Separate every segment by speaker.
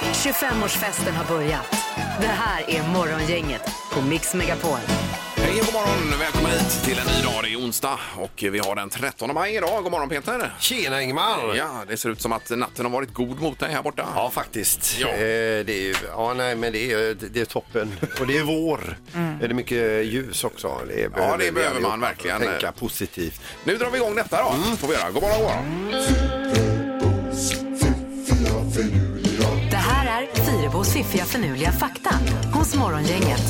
Speaker 1: 25-årsfesten har börjat. Det här är Morgongänget på Mix Megapol.
Speaker 2: Hej och god morgon! Välkommen hit till en ny dag. Det är onsdag och vi har den 13 maj idag. God morgon Peter!
Speaker 3: Tjena Ingmar! Ja,
Speaker 2: Ja, det ser ut som att natten har varit god mot dig här borta.
Speaker 3: faktiskt.
Speaker 2: Ja.
Speaker 3: Eh, det är ju, ja nej men det är, det är toppen. Och det är vår.
Speaker 4: Mm.
Speaker 3: Det är mycket ljus också. Det behöver, vi
Speaker 2: behöver man
Speaker 3: allihopa
Speaker 2: verkligen.
Speaker 3: Tänka positivt.
Speaker 2: Nu drar vi igång detta då. Får vi göra. God morgon, god morgon.
Speaker 1: Det här är Fyrebos fiffiga förnuliga fakta hos Morgongänget.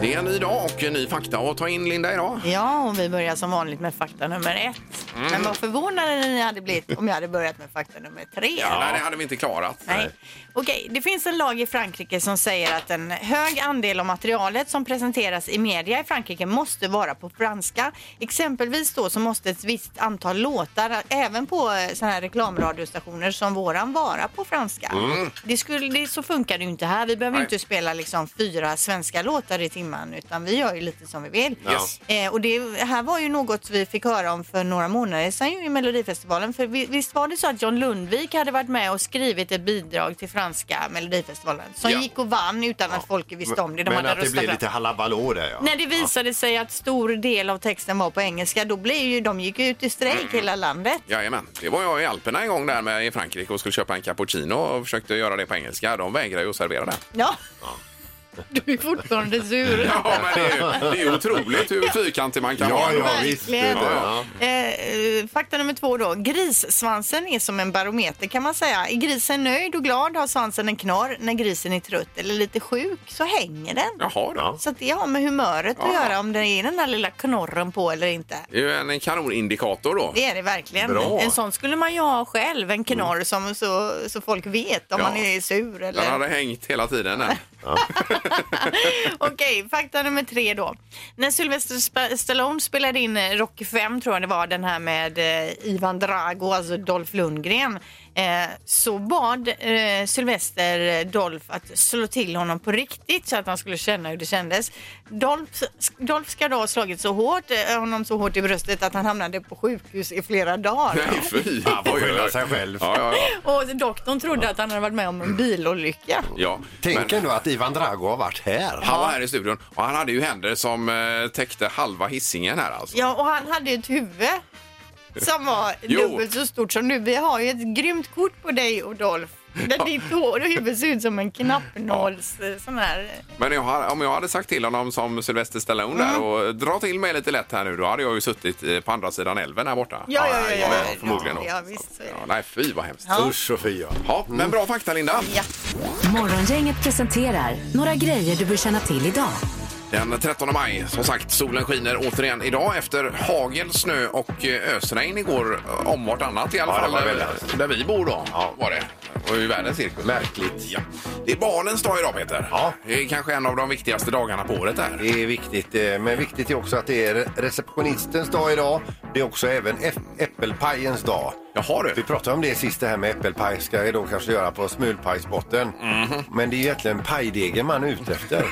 Speaker 2: Det är en ny dag och en ny fakta att ta in Linda idag.
Speaker 4: Ja, och vi börjar som vanligt med fakta nummer ett.
Speaker 2: Mm.
Speaker 4: Men vad förvånade ni hade blivit om jag hade börjat med fakta nummer tre.
Speaker 2: Nej, det hade vi inte klarat.
Speaker 4: Nej. Okej, det finns en lag i Frankrike som säger att en hög andel av materialet som presenteras i media i Frankrike måste vara på franska. Exempelvis då så måste ett visst antal låtar, även på eh, såna här reklamradiostationer som våran, vara på franska. Det skulle, det, så funkar det ju inte här. Vi behöver ju
Speaker 2: Mm. Nej.
Speaker 4: inte spela liksom fyra svenska låtar i timmen utan vi gör ju lite som vi vill.
Speaker 2: Yes.
Speaker 4: Eh, och det här var ju något vi fick höra om för några månader sedan ju i Melodifestivalen. För vi- visst var det så att John Lundvik hade varit med och skrivit ett bidrag till franska Melodifestivalen som
Speaker 2: Ja.
Speaker 4: gick och vann utan att folk visste om det. De
Speaker 3: men
Speaker 4: hade
Speaker 3: att det
Speaker 4: röstat
Speaker 3: blir
Speaker 4: fram.
Speaker 3: lite halabaloo där ja.
Speaker 4: När det visade sig att stor del av texten var på engelska då blev ju de gick ut i strejk hela landet.
Speaker 2: Jajamän. Det var jag i Alperna en gång där med i Frankrike och skulle köpa en cappuccino och försökte göra det på engelska. De vägrade ju att servera det.
Speaker 4: Ja. Du är fortfarande sur.
Speaker 2: Ja, men det är ju det är ju otroligt hur fyrkantig man kan
Speaker 3: Ja,
Speaker 2: vara.
Speaker 3: ja, visst. det är
Speaker 4: Verkligen.
Speaker 3: det. Ja.
Speaker 4: Eh, eh, fakta nummer två då. Grissvansen är som en barometer kan man säga. Är grisen nöjd och glad har svansen en knorr. När grisen är trött eller lite sjuk så hänger den.
Speaker 2: Jaha, då.
Speaker 4: Så att det har med humöret att göra om det är den där lilla knorren på eller inte.
Speaker 2: Det är ju en kanonindikator då.
Speaker 4: Det är det verkligen.
Speaker 2: Bra.
Speaker 4: En sån skulle man ju ha själv, en knorr som så, så folk vet om
Speaker 2: Ja.
Speaker 4: man är sur eller...
Speaker 2: Den hade hängt hela tiden. där.
Speaker 4: Okej, fakta nummer tre då. När Sylvester Sp- Stallone spelade in eh, Rocky 5, tror jag det var, den här med eh, Ivan Drago, alltså Dolph Lundgren, eh, så bad eh, Sylvester eh, Dolph att slå till honom på riktigt så att han skulle känna hur det kändes. Dolph, Dolph ska då ha slagit så hårt, eh, honom så hårt i bröstet att han hamnade på sjukhus i flera dagar.
Speaker 2: Nej, fy! Han
Speaker 3: får skylla sig själv.
Speaker 2: Ja, ja, ja.
Speaker 4: Och doktorn trodde att han hade varit med om en bilolycka.
Speaker 2: ja.
Speaker 3: Tänk
Speaker 2: Men
Speaker 3: ändå att Ivan Drago har varit här.
Speaker 2: han var här i studion och han hade ju händer som eh, täckte halva hissingen här alltså.
Speaker 4: Ja, och han hade ett huvud som var
Speaker 2: Jo.
Speaker 4: dubbelt så stort som nu. Vi har ju ett grymt kort på dig och Dolph. Där ditt hår och huvud ser ut som en knappnåls eh, sån här.
Speaker 2: Men jag, har- om jag hade sagt till honom som Sylvester Stallone där
Speaker 4: Mm.
Speaker 2: och dra till mig lite lätt här nu då hade jag ju suttit eh, på andra sidan älven här borta.
Speaker 4: Ja, ja, ja, ja, ja,
Speaker 2: men förmodligen
Speaker 4: ja,
Speaker 2: då.
Speaker 4: ja, visst, så är det.
Speaker 2: Ja, nej, fy vad hemskt.
Speaker 4: Ja. Mm.
Speaker 3: Usch och fy ja.
Speaker 2: Ja, men bra fakta Linda.
Speaker 4: Ja.
Speaker 1: Morgongänget presenterar några grejer du bör känna till idag.
Speaker 2: Den 13 maj, som sagt, solen skiner återigen idag efter hagel, snö och eh, ösregn igår. eh, Om vartannat i alla
Speaker 3: Ja, det
Speaker 2: fall,
Speaker 3: var
Speaker 2: eh,
Speaker 3: väldigt.
Speaker 2: där vi bor då. Var det. Och i världens cirkus.
Speaker 3: Märkligt.
Speaker 2: Ja. Det är barnens dag idag Peter.
Speaker 3: Ja.
Speaker 2: Det är kanske en av de viktigaste dagarna på året där.
Speaker 3: Det är viktigt, eh, men viktigt är också att det är receptionistens dag idag. Det är också även äpp- äppelpajens dag.
Speaker 2: Jaha
Speaker 3: Vi
Speaker 2: du.
Speaker 3: pratade om det sist, det här med äppelpaj ska jag då kanske göra på smulpajsbotten.
Speaker 2: Mhm.
Speaker 3: Men det är ju egentligen pajdegen man är ute efter.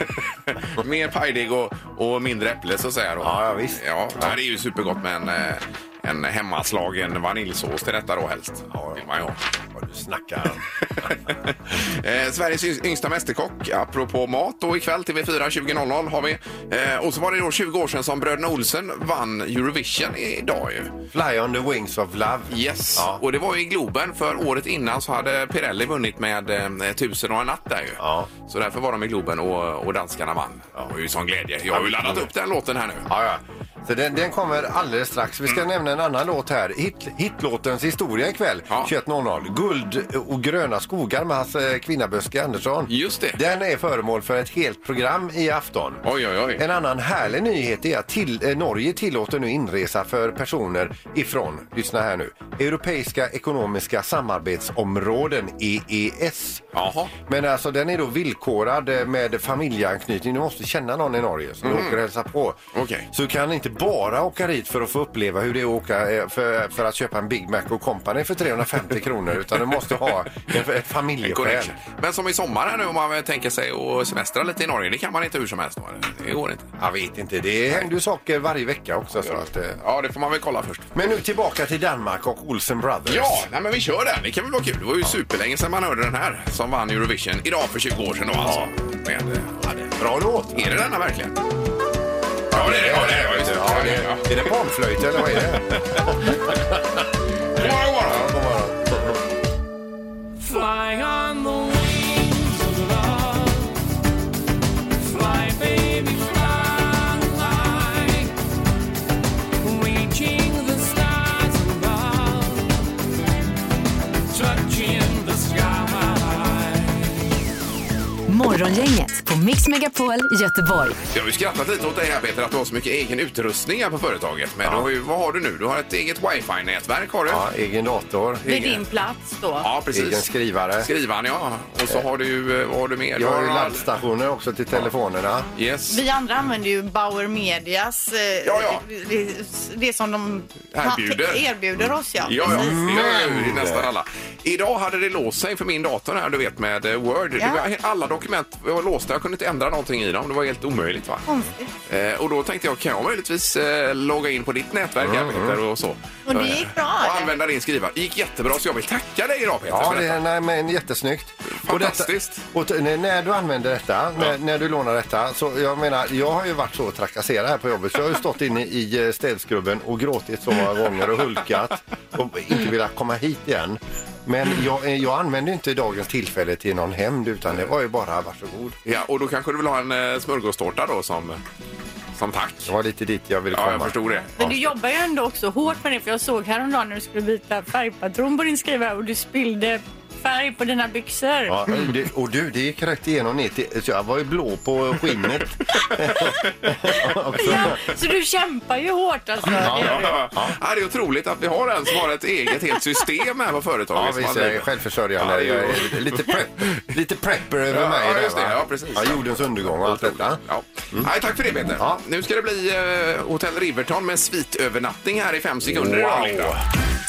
Speaker 2: Mer pajdeg och, och mindre äpple så att säga då.
Speaker 3: Ja, ja, visst.
Speaker 2: Ja, nej, det är ju supergott med en, eh, en hemmaslagen vaniljsås till detta då helst.
Speaker 3: Ja,
Speaker 2: Vill man ju ha.
Speaker 3: Vad du snackar.
Speaker 2: Eh, Sveriges yng- yngsta mästerkock, apropå mat, och ikväll TV4 20.00 har vi. Eh, och så var det då 20 år sedan som bröderna Olsen vann Eurovision i- idag ju.
Speaker 3: Fly on the wings of love.
Speaker 2: Yes,
Speaker 3: Ja.
Speaker 2: och det var ju i Globen för året innan så hade Pirelli vunnit med eh, Tusen och en natt där ju.
Speaker 3: Ja.
Speaker 2: Så därför var de i Globen och, och danskarna vann. Det var ju sån glädje. Jag har ju laddat upp den låten här nu.
Speaker 3: Ja, ja. Så den, den kommer alldeles strax. Vi
Speaker 2: Mm.
Speaker 3: ska nämna en annan låt här. Hit, hitlåtens historia ikväll.
Speaker 2: Ja.
Speaker 3: 21.00. Guld och gröna skogar med hans eh, kvinna Böske Andersson.
Speaker 2: Just det.
Speaker 3: Den är föremål för ett helt program i afton.
Speaker 2: Oj, oj, oj.
Speaker 3: En annan härlig nyhet är att till, eh, Norge tillåter nu inresa för personer ifrån, lyssna här nu, Europeiska ekonomiska samarbetsområden, EES.
Speaker 2: Jaha.
Speaker 3: Men alltså den är då villkorad eh, med familjeanknytning. Du måste känna någon i Norge som du åker och hälsar på.
Speaker 2: Mm. Okej.
Speaker 3: Så du kan inte bara åka dit för att få uppleva hur det är att åka eh, för, för att köpa en Big Mac och Company för 350 kronor utan du måste ha en- ett familjeskäl.
Speaker 2: Correct. Men som i sommar här nu om man tänker sig att semestra lite i Norge, det kan man inte hur som helst. då, eller? Det går inte.
Speaker 3: Jag vet inte, det händer ju saker varje vecka också. Så att, eh.
Speaker 2: Ja, det får man väl kolla först.
Speaker 3: Men nu tillbaka till Danmark och Olsen Brothers.
Speaker 2: Ja, nej, men vi kör den. Det kan väl vara kul. Det var ju superlänge sedan man hörde den här som vann Eurovision. Idag för 20 år sedan då alltså. Med, ja, det-
Speaker 3: Bra låt!
Speaker 2: är det denna verkligen? Ja, det är det. Ja, det är det. Just det. Ja, det, är det. ja.
Speaker 3: Är det panflöjt eller vad är det?
Speaker 2: God morgon, god morgon.
Speaker 3: God morgon.
Speaker 5: Fly on the wings of love. Fly, baby, fly. Reaching the stars above. Touching the sky.
Speaker 1: Morgongänget på Mix Megapol i Göteborg.
Speaker 2: Jag har ju skrattat lite åt dig här Peter att du har så mycket egen utrustning här på företaget. Men du har ju, vad har du nu? Du har ett eget wifi-nätverk har du.
Speaker 3: Ja, egen dator,
Speaker 4: Vid din plats då?
Speaker 2: Ja,
Speaker 3: egen
Speaker 2: precis.
Speaker 3: skrivare.
Speaker 2: Skrivaren ja. Och så har du ju, eh, vad har du mer?
Speaker 3: Jag har ju
Speaker 2: Du all-
Speaker 3: laddstationer också till telefonerna.
Speaker 2: Yes.
Speaker 4: Vi andra använder ju Bauer Medias, eh,
Speaker 2: Ja, ja.
Speaker 4: Det, det som de
Speaker 2: Erbjuder.
Speaker 4: erbjuder oss. Ja.
Speaker 2: Ja, ja. Men... Det är nästan alla. Idag hade det låst sig för min dator här, du vet med eh, Word.
Speaker 4: Ja.
Speaker 2: Det var, alla dokument var låsta, jag kunde inte ändra någonting i dem. Det var helt omöjligt va?
Speaker 4: Konstigt.
Speaker 2: Eh, och då tänkte jag, kan jag möjligtvis eh, logga in på ditt nätverk här Peter och så?
Speaker 4: Mm, Och det gick bra,
Speaker 2: Och
Speaker 4: eller?
Speaker 2: använda din skrivare. Det gick jättebra så jag vill tacka dig idag Peter
Speaker 3: Ja,
Speaker 2: för
Speaker 3: det
Speaker 2: detta.
Speaker 3: är, nej, men jättesnyggt. Och detta-
Speaker 2: Fantastiskt.
Speaker 3: Och t- när- när du använder detta, när, när du lånar detta, så jag menar, jag har ju varit så trakasserad här på jobbet så jag har ju stått inne i eh, städskrubben och gråtit så många gånger och hulkat och inte velat komma hit igen. Men jag, eh, jag använde ju inte dagens tillfälle till någon hämnd utan det var ju bara varsågod.
Speaker 2: Ja, och då kanske du vill ha en eh, smörgåstårta då som, som tack?
Speaker 3: Det var lite dit jag ville komma.
Speaker 2: Ja, jag förstod det.
Speaker 4: Men du jobbar ju ändå också hårt med det för jag såg häromdagen när du skulle byta färgpatron på din skrivare och du spillde färg på dina byxor.
Speaker 3: Ja, det, och du, det gick rätt igenom ner till, så jag var ju blå på skinnet. Också.
Speaker 4: Ja, så du kämpar ju hårt alltså. Det gör
Speaker 2: Ja,
Speaker 4: du.
Speaker 2: ja, ja. Ja, det är otroligt att vi har en som har ett eget helt system här på företaget.
Speaker 3: Ja,
Speaker 2: som
Speaker 3: visst,
Speaker 2: man
Speaker 3: jag är
Speaker 2: driver.
Speaker 3: självförsörjande.
Speaker 2: Ja, det är
Speaker 3: jag
Speaker 2: ju-
Speaker 3: är lite, prep, lite prepper över
Speaker 2: Ja,
Speaker 3: mig.
Speaker 2: ja,
Speaker 3: där,
Speaker 2: just det.
Speaker 3: va?
Speaker 2: Ja, precis.
Speaker 3: Ja, jordens undergång och allt detta.
Speaker 2: Ja. Nej, tack för det Peter.
Speaker 3: Ja.
Speaker 2: Nu ska det bli eh, Hotell Riverton med svitövernattning här i fem sekunder idag, Linda.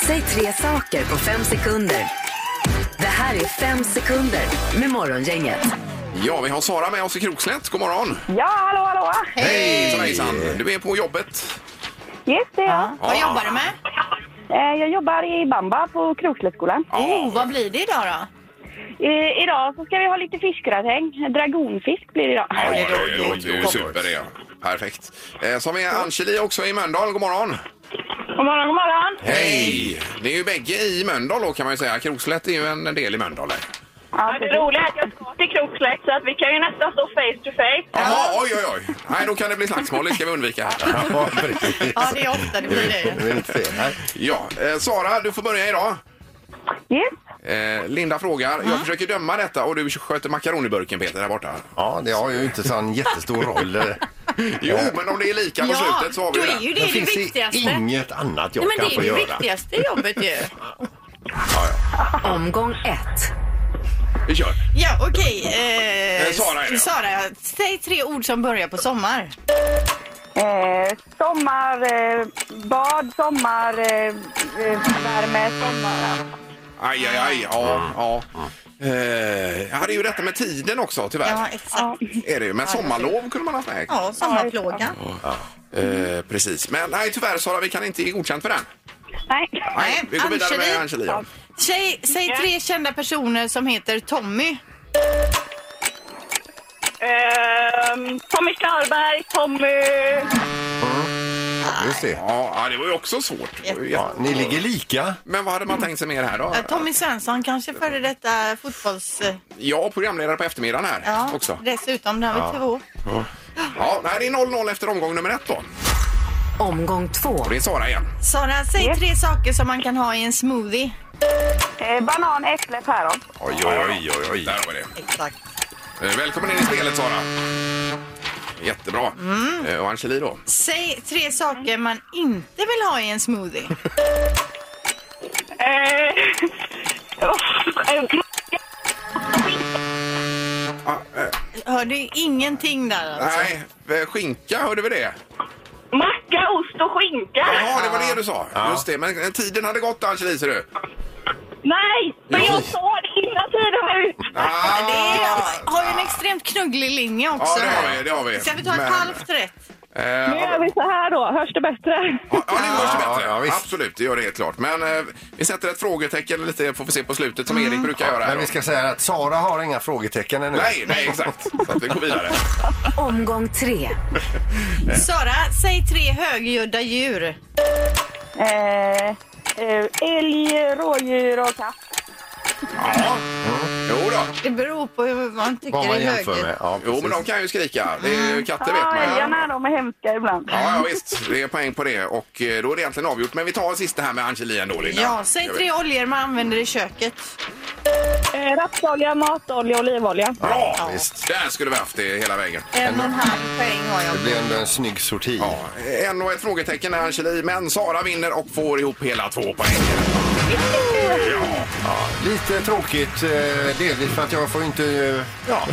Speaker 1: Säg tre saker på fem sekunder. Det här är fem sekunder med Morgongänget.
Speaker 2: Ja, vi har Sara med oss i Krokslätt. God morgon!
Speaker 6: Ja, hallå, hallå!
Speaker 2: Hej! Hejsan. Du är på jobbet.
Speaker 6: Yes, det är jag.
Speaker 4: Vad jobbar du med?
Speaker 6: Eh, Jag jobbar i Bamba på Krokslättsskolan.
Speaker 4: Oh, vad blir det idag då?
Speaker 6: Eh, Idag så ska vi ha lite fiskgratäng. Dragonfisk blir det idag.
Speaker 2: Ja, det låter ju super det. Perfekt. Eh, som är Angeli också i Mölndal. God morgon!
Speaker 6: God morgon, god morgon!
Speaker 2: Hej! Det är ju bägge i Mölndal då kan man ju säga. Krokslätt är ju en del i Mölndal. där.
Speaker 6: Ja, det roliga är att jag ska till Krokslätt så att vi kan ju nästan stå face to face.
Speaker 2: Jaha, oj, oj, oj. Nej, då kan det bli slagsmål. Det ska vi undvika. här.
Speaker 3: Ja, precis.
Speaker 4: Ja, det är ofta det blir
Speaker 3: Jag
Speaker 4: det.
Speaker 3: vill inte se. Nej.
Speaker 2: Ja, eh, Sara, du får börja idag.
Speaker 6: Yes.
Speaker 2: Eh, Linda frågar. Jag försöker döma detta och du sköter makaroniburken, Peter, där borta.
Speaker 3: Ja, det har ju inte sån jättestor roll. Eh,
Speaker 2: Jo, men om det är lika på
Speaker 4: Ja,
Speaker 2: slutet så har vi
Speaker 4: då
Speaker 2: ju
Speaker 4: är ju
Speaker 2: det.
Speaker 4: det det
Speaker 3: finns
Speaker 4: viktigaste.
Speaker 3: inget annat jag
Speaker 4: Nej, men
Speaker 3: kan
Speaker 4: det
Speaker 3: få
Speaker 4: är det
Speaker 3: göra.
Speaker 4: viktigaste jobbet ju.
Speaker 1: Omgång ett.
Speaker 2: Vi kör.
Speaker 4: Ja, okej. Eh,
Speaker 2: Eh, Sara är det.
Speaker 4: Sara, säg tre ord som börjar på sommar.
Speaker 6: Eh, sommar, eh, bad, sommar, eh, eh, värme, sommar.
Speaker 2: Aj, aj, aj. Ja, ja. Eh, jag hade ju detta med tiden också,
Speaker 4: Ja,
Speaker 2: tyvärr.
Speaker 6: Ja.
Speaker 4: exakt.
Speaker 2: Är det ju. Men sommarlov kunde man ha haft med.
Speaker 4: Ja, sommarplåga.
Speaker 2: Eh, precis. Men nej, tyvärr Sara, vi kan inte ge godkänt för den.
Speaker 4: Eh,
Speaker 6: Nej.
Speaker 4: Nej,
Speaker 2: Vi går vidare med
Speaker 4: Angeli.
Speaker 2: Angeli. ja.
Speaker 4: Säg, säg tre kända personer som heter Tommy.
Speaker 6: Eh, Tommy Skarberg, Tommy...
Speaker 3: Just det.
Speaker 2: Ja, ja, det var ju också svårt. Det var ju
Speaker 3: Ja,
Speaker 2: jätte-
Speaker 3: ni ligger lika.
Speaker 2: Men vad hade man tänkt sig mer här då?
Speaker 4: Eh, Tommy Svensson, kanske före detta fotbolls... eh,
Speaker 2: Jag fotbollsledare på eftermiddagen här
Speaker 4: Ja,
Speaker 2: också.
Speaker 4: dessutom. Där har vi två.
Speaker 2: Ja, nej, det är 0-0 efter omgång nummer ett då. Och
Speaker 1: Omgång två.
Speaker 2: det är Sara igen.
Speaker 4: Sara, säg
Speaker 6: Yes.
Speaker 4: tre saker som man kan ha i en smoothie.
Speaker 6: Eh, banan, äpple, päron.
Speaker 2: Oj, oj, oj, oj. Där var det.
Speaker 4: Exakt.
Speaker 2: Eh, Välkommen in i spelet Sara. Jättebra. Eh, Och Angeli då?
Speaker 4: Säg tre saker man inte vill ha i en smoothie.
Speaker 6: Eh, oh,
Speaker 4: Hör du ingenting där alltså?
Speaker 2: Ah. Nej, eh, skinka, hörde vi det?
Speaker 6: Macka, ost och skinka.
Speaker 2: Ja, det var det du sa. Just det, men eh, tiden hade gått Angeli, ser du.
Speaker 6: Nej, men
Speaker 2: Jo.
Speaker 6: jag sa det innan tiden var ute.
Speaker 2: Ah,
Speaker 4: Det är, har ju en extremt knugglig linje också.
Speaker 2: Ja, det har vi, det har vi.
Speaker 4: Ska vi ta ett
Speaker 2: Men-
Speaker 4: halvt rätt?
Speaker 6: Nu
Speaker 2: eh,
Speaker 6: gör vi så här då. Hörs det bättre?
Speaker 2: Ja, ja, det hörs
Speaker 3: Ja,
Speaker 2: bättre.
Speaker 3: ja, visst.
Speaker 2: Absolut, det gör det helt klart. Men eh, vi sätter ett frågetecken lite, får vi se på slutet, som Erik brukar göra. här
Speaker 3: Men vi
Speaker 2: då.
Speaker 3: ska säga att Sara har inga frågetecken ännu.
Speaker 2: Nej, nej, exakt. Så att vi går vidare.
Speaker 1: Omgång tre.
Speaker 2: Eh.
Speaker 4: Sara, säg tre högljudda djur.
Speaker 6: Eh, eh, älg, rådjur och katt.
Speaker 2: Ja. Jo då.
Speaker 4: Det beror på hur man tycker
Speaker 3: Vad man
Speaker 4: är
Speaker 3: jämför med.
Speaker 4: högljutt.
Speaker 3: Ja,
Speaker 2: Jo,
Speaker 3: precis.
Speaker 2: men de kan ju skrika. Det är ju katter vet
Speaker 6: Ja,
Speaker 2: man ju.
Speaker 6: älgarna de är hemska ibland.
Speaker 2: Ja, ja, visst. Det är poäng på det. Och eh, då är det egentligen avgjort. Men vi tar sista här med Angeli ändå, Linda.
Speaker 4: Ja, säg tre oljor man använder i köket.
Speaker 6: Eh, rapsolja, matolja, olivolja.
Speaker 2: Bra!
Speaker 3: Ja, visst.
Speaker 2: Där skulle vi haft det hela vägen.
Speaker 4: En och en halv poäng har jag.
Speaker 3: Det blir ändå en snygg sorti.
Speaker 2: Ja, en och ett frågetecken är Angeli, men Sara vinner och får ihop hela två poäng. Ja,
Speaker 3: Lite tråkigt, eh, delvis för att jag får inte, eh, ja, jag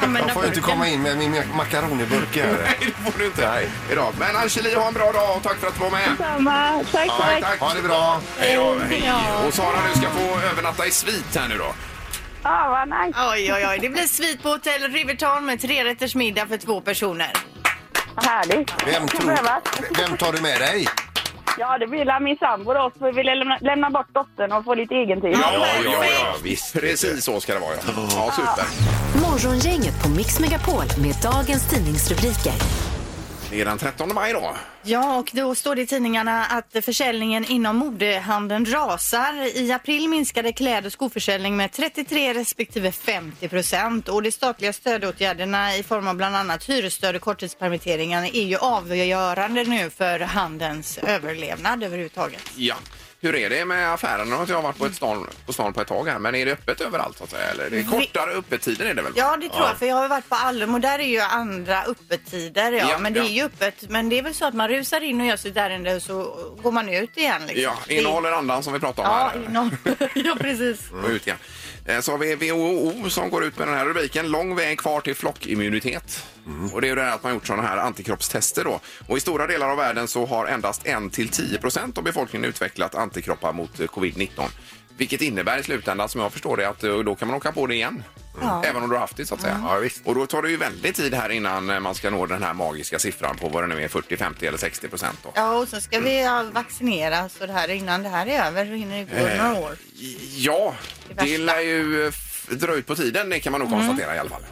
Speaker 4: Använda
Speaker 3: får inte
Speaker 4: burken.
Speaker 3: komma in med min mak- makaroniburk här.
Speaker 2: nej det får du inte idag. Men Angeli, ha en bra dag och tack för att du var med.
Speaker 6: Samma. Tack,
Speaker 2: Ja,
Speaker 6: tack.
Speaker 3: Ha det bra!
Speaker 2: Hej då, hej.
Speaker 4: Ja.
Speaker 2: Och Sara, du ska få övernatta i svit här nu då.
Speaker 6: Ja, vad nice.
Speaker 4: Oj, oj, oj. Det blir svit på hotell Riverton med trerätters middag för två personer.
Speaker 6: Härligt.
Speaker 3: Vem,
Speaker 6: Ska
Speaker 3: tror,
Speaker 6: prövas.
Speaker 3: vem tar du med dig?
Speaker 6: Ja, det vill min sambo då. Så vi vill lämna, lämna bort dottern och få lite egen tid.
Speaker 2: visst. Precis så ska det vara. Ja, ja super.
Speaker 1: Morgongänget på Mix Megapol med dagens tidningsrubriker.
Speaker 2: Det är den 13 maj då.
Speaker 4: Ja, och då står det i tidningarna att försäljningen inom modehandeln rasar. I april minskade kläd och skoförsäljning med 33 respektive 50 procent. Och de statliga stödåtgärderna i form av bland annat hyresstöd och korttidspermitteringar är ju avgörande nu för handelns överlevnad överhuvudtaget.
Speaker 2: Ja. Hur är det med affärerna? Nu har inte jag varit på, ett
Speaker 4: Mm.
Speaker 2: stan, på stan på ett tag här, men är det öppet överallt? Så att säga? Eller är det kortare öppettider är det väl?
Speaker 4: Ja, det tror jag. För jag har ju varit på Allum och där är ju andra öppettider. Ja,
Speaker 2: Ja,
Speaker 4: men det
Speaker 2: ja.
Speaker 4: är ju öppet. Men det är väl så att man rusar in och gör sitt ärende och så går man ut igen. Liksom.
Speaker 2: Ja,
Speaker 4: Det-
Speaker 2: innehåller andan som vi pratade om
Speaker 4: Ja,
Speaker 2: här.
Speaker 4: innehåll. ja, precis.
Speaker 2: Och ut igen. Eh, Så har vi WHO som går ut med den här rubriken. Lång väg kvar till flockimmunitet. Och det är ju det här att man gjort sådana här antikroppstester då. Och i stora delar av världen så har endast 1 till 10 procent av befolkningen utvecklat antikroppar mot eh, covid-19. Vilket innebär i slutändan som jag förstår det att eh, då kan man åka på det igen. Även om du har haft det så att säga.
Speaker 3: Ja, visst.
Speaker 2: Och då tar det ju väldigt tid här innan eh, man ska nå den här magiska siffran på vad det nu är 40, 50 eller 60 procent då.
Speaker 4: Ja, och sen ska vi ja, vaccinera så det här innan det här är över så hinner det gå
Speaker 2: Eh,
Speaker 4: några år.
Speaker 2: Ja,
Speaker 4: Det
Speaker 2: det
Speaker 4: värsta.
Speaker 2: lär ju eh, f- dra ut på tiden, det kan man nog konstatera i alla fall.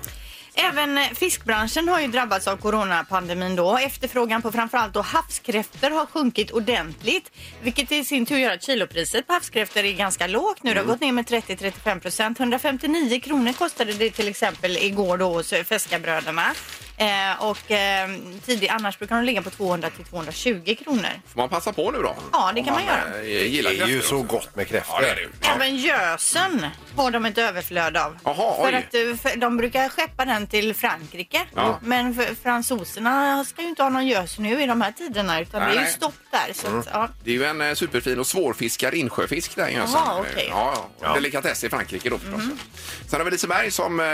Speaker 4: Även eh, fiskbranschen har ju drabbats av coronapandemin då. Efterfrågan på framförallt då havskräftor har sjunkit ordentligt, vilket i sin tur gör att kilopriset på havskräftor är ganska lågt nu. Det har gått ner med 30-35 procent. 159 kronor kostade det till exempel igår då hos eh, Feskabröderna. Eh, och eh, tidig, annars brukar de ligga på 200 till 220 kronor.
Speaker 2: Får man passa på nu då?
Speaker 4: Ja, det
Speaker 2: Om
Speaker 4: kan man göra.
Speaker 2: eh, Gillar
Speaker 3: Det är ju
Speaker 2: kräftor
Speaker 3: så
Speaker 2: också.
Speaker 3: gott med
Speaker 2: Ja, det är det
Speaker 3: kräftor.
Speaker 2: ju.
Speaker 4: Även gösen har de ett överflöd av.
Speaker 2: Jaha, oj.
Speaker 4: för att, eh, för de brukar skeppa den till Frankrike.
Speaker 2: Ja.
Speaker 4: Men för- fransoserna ska ju inte ha någon gös nu i de här tiderna utan
Speaker 2: Nej,
Speaker 4: det är ju
Speaker 2: nej.
Speaker 4: stopp där. Så att, ja.
Speaker 2: Det är ju en eh, superfin och svårfiskad insjöfisk där i Jönsson.
Speaker 4: Jaha, okej. Mhm.
Speaker 2: ja, ja. Och Delikatess i Frankrike då förstås. Sen har vi Liseberg som eh,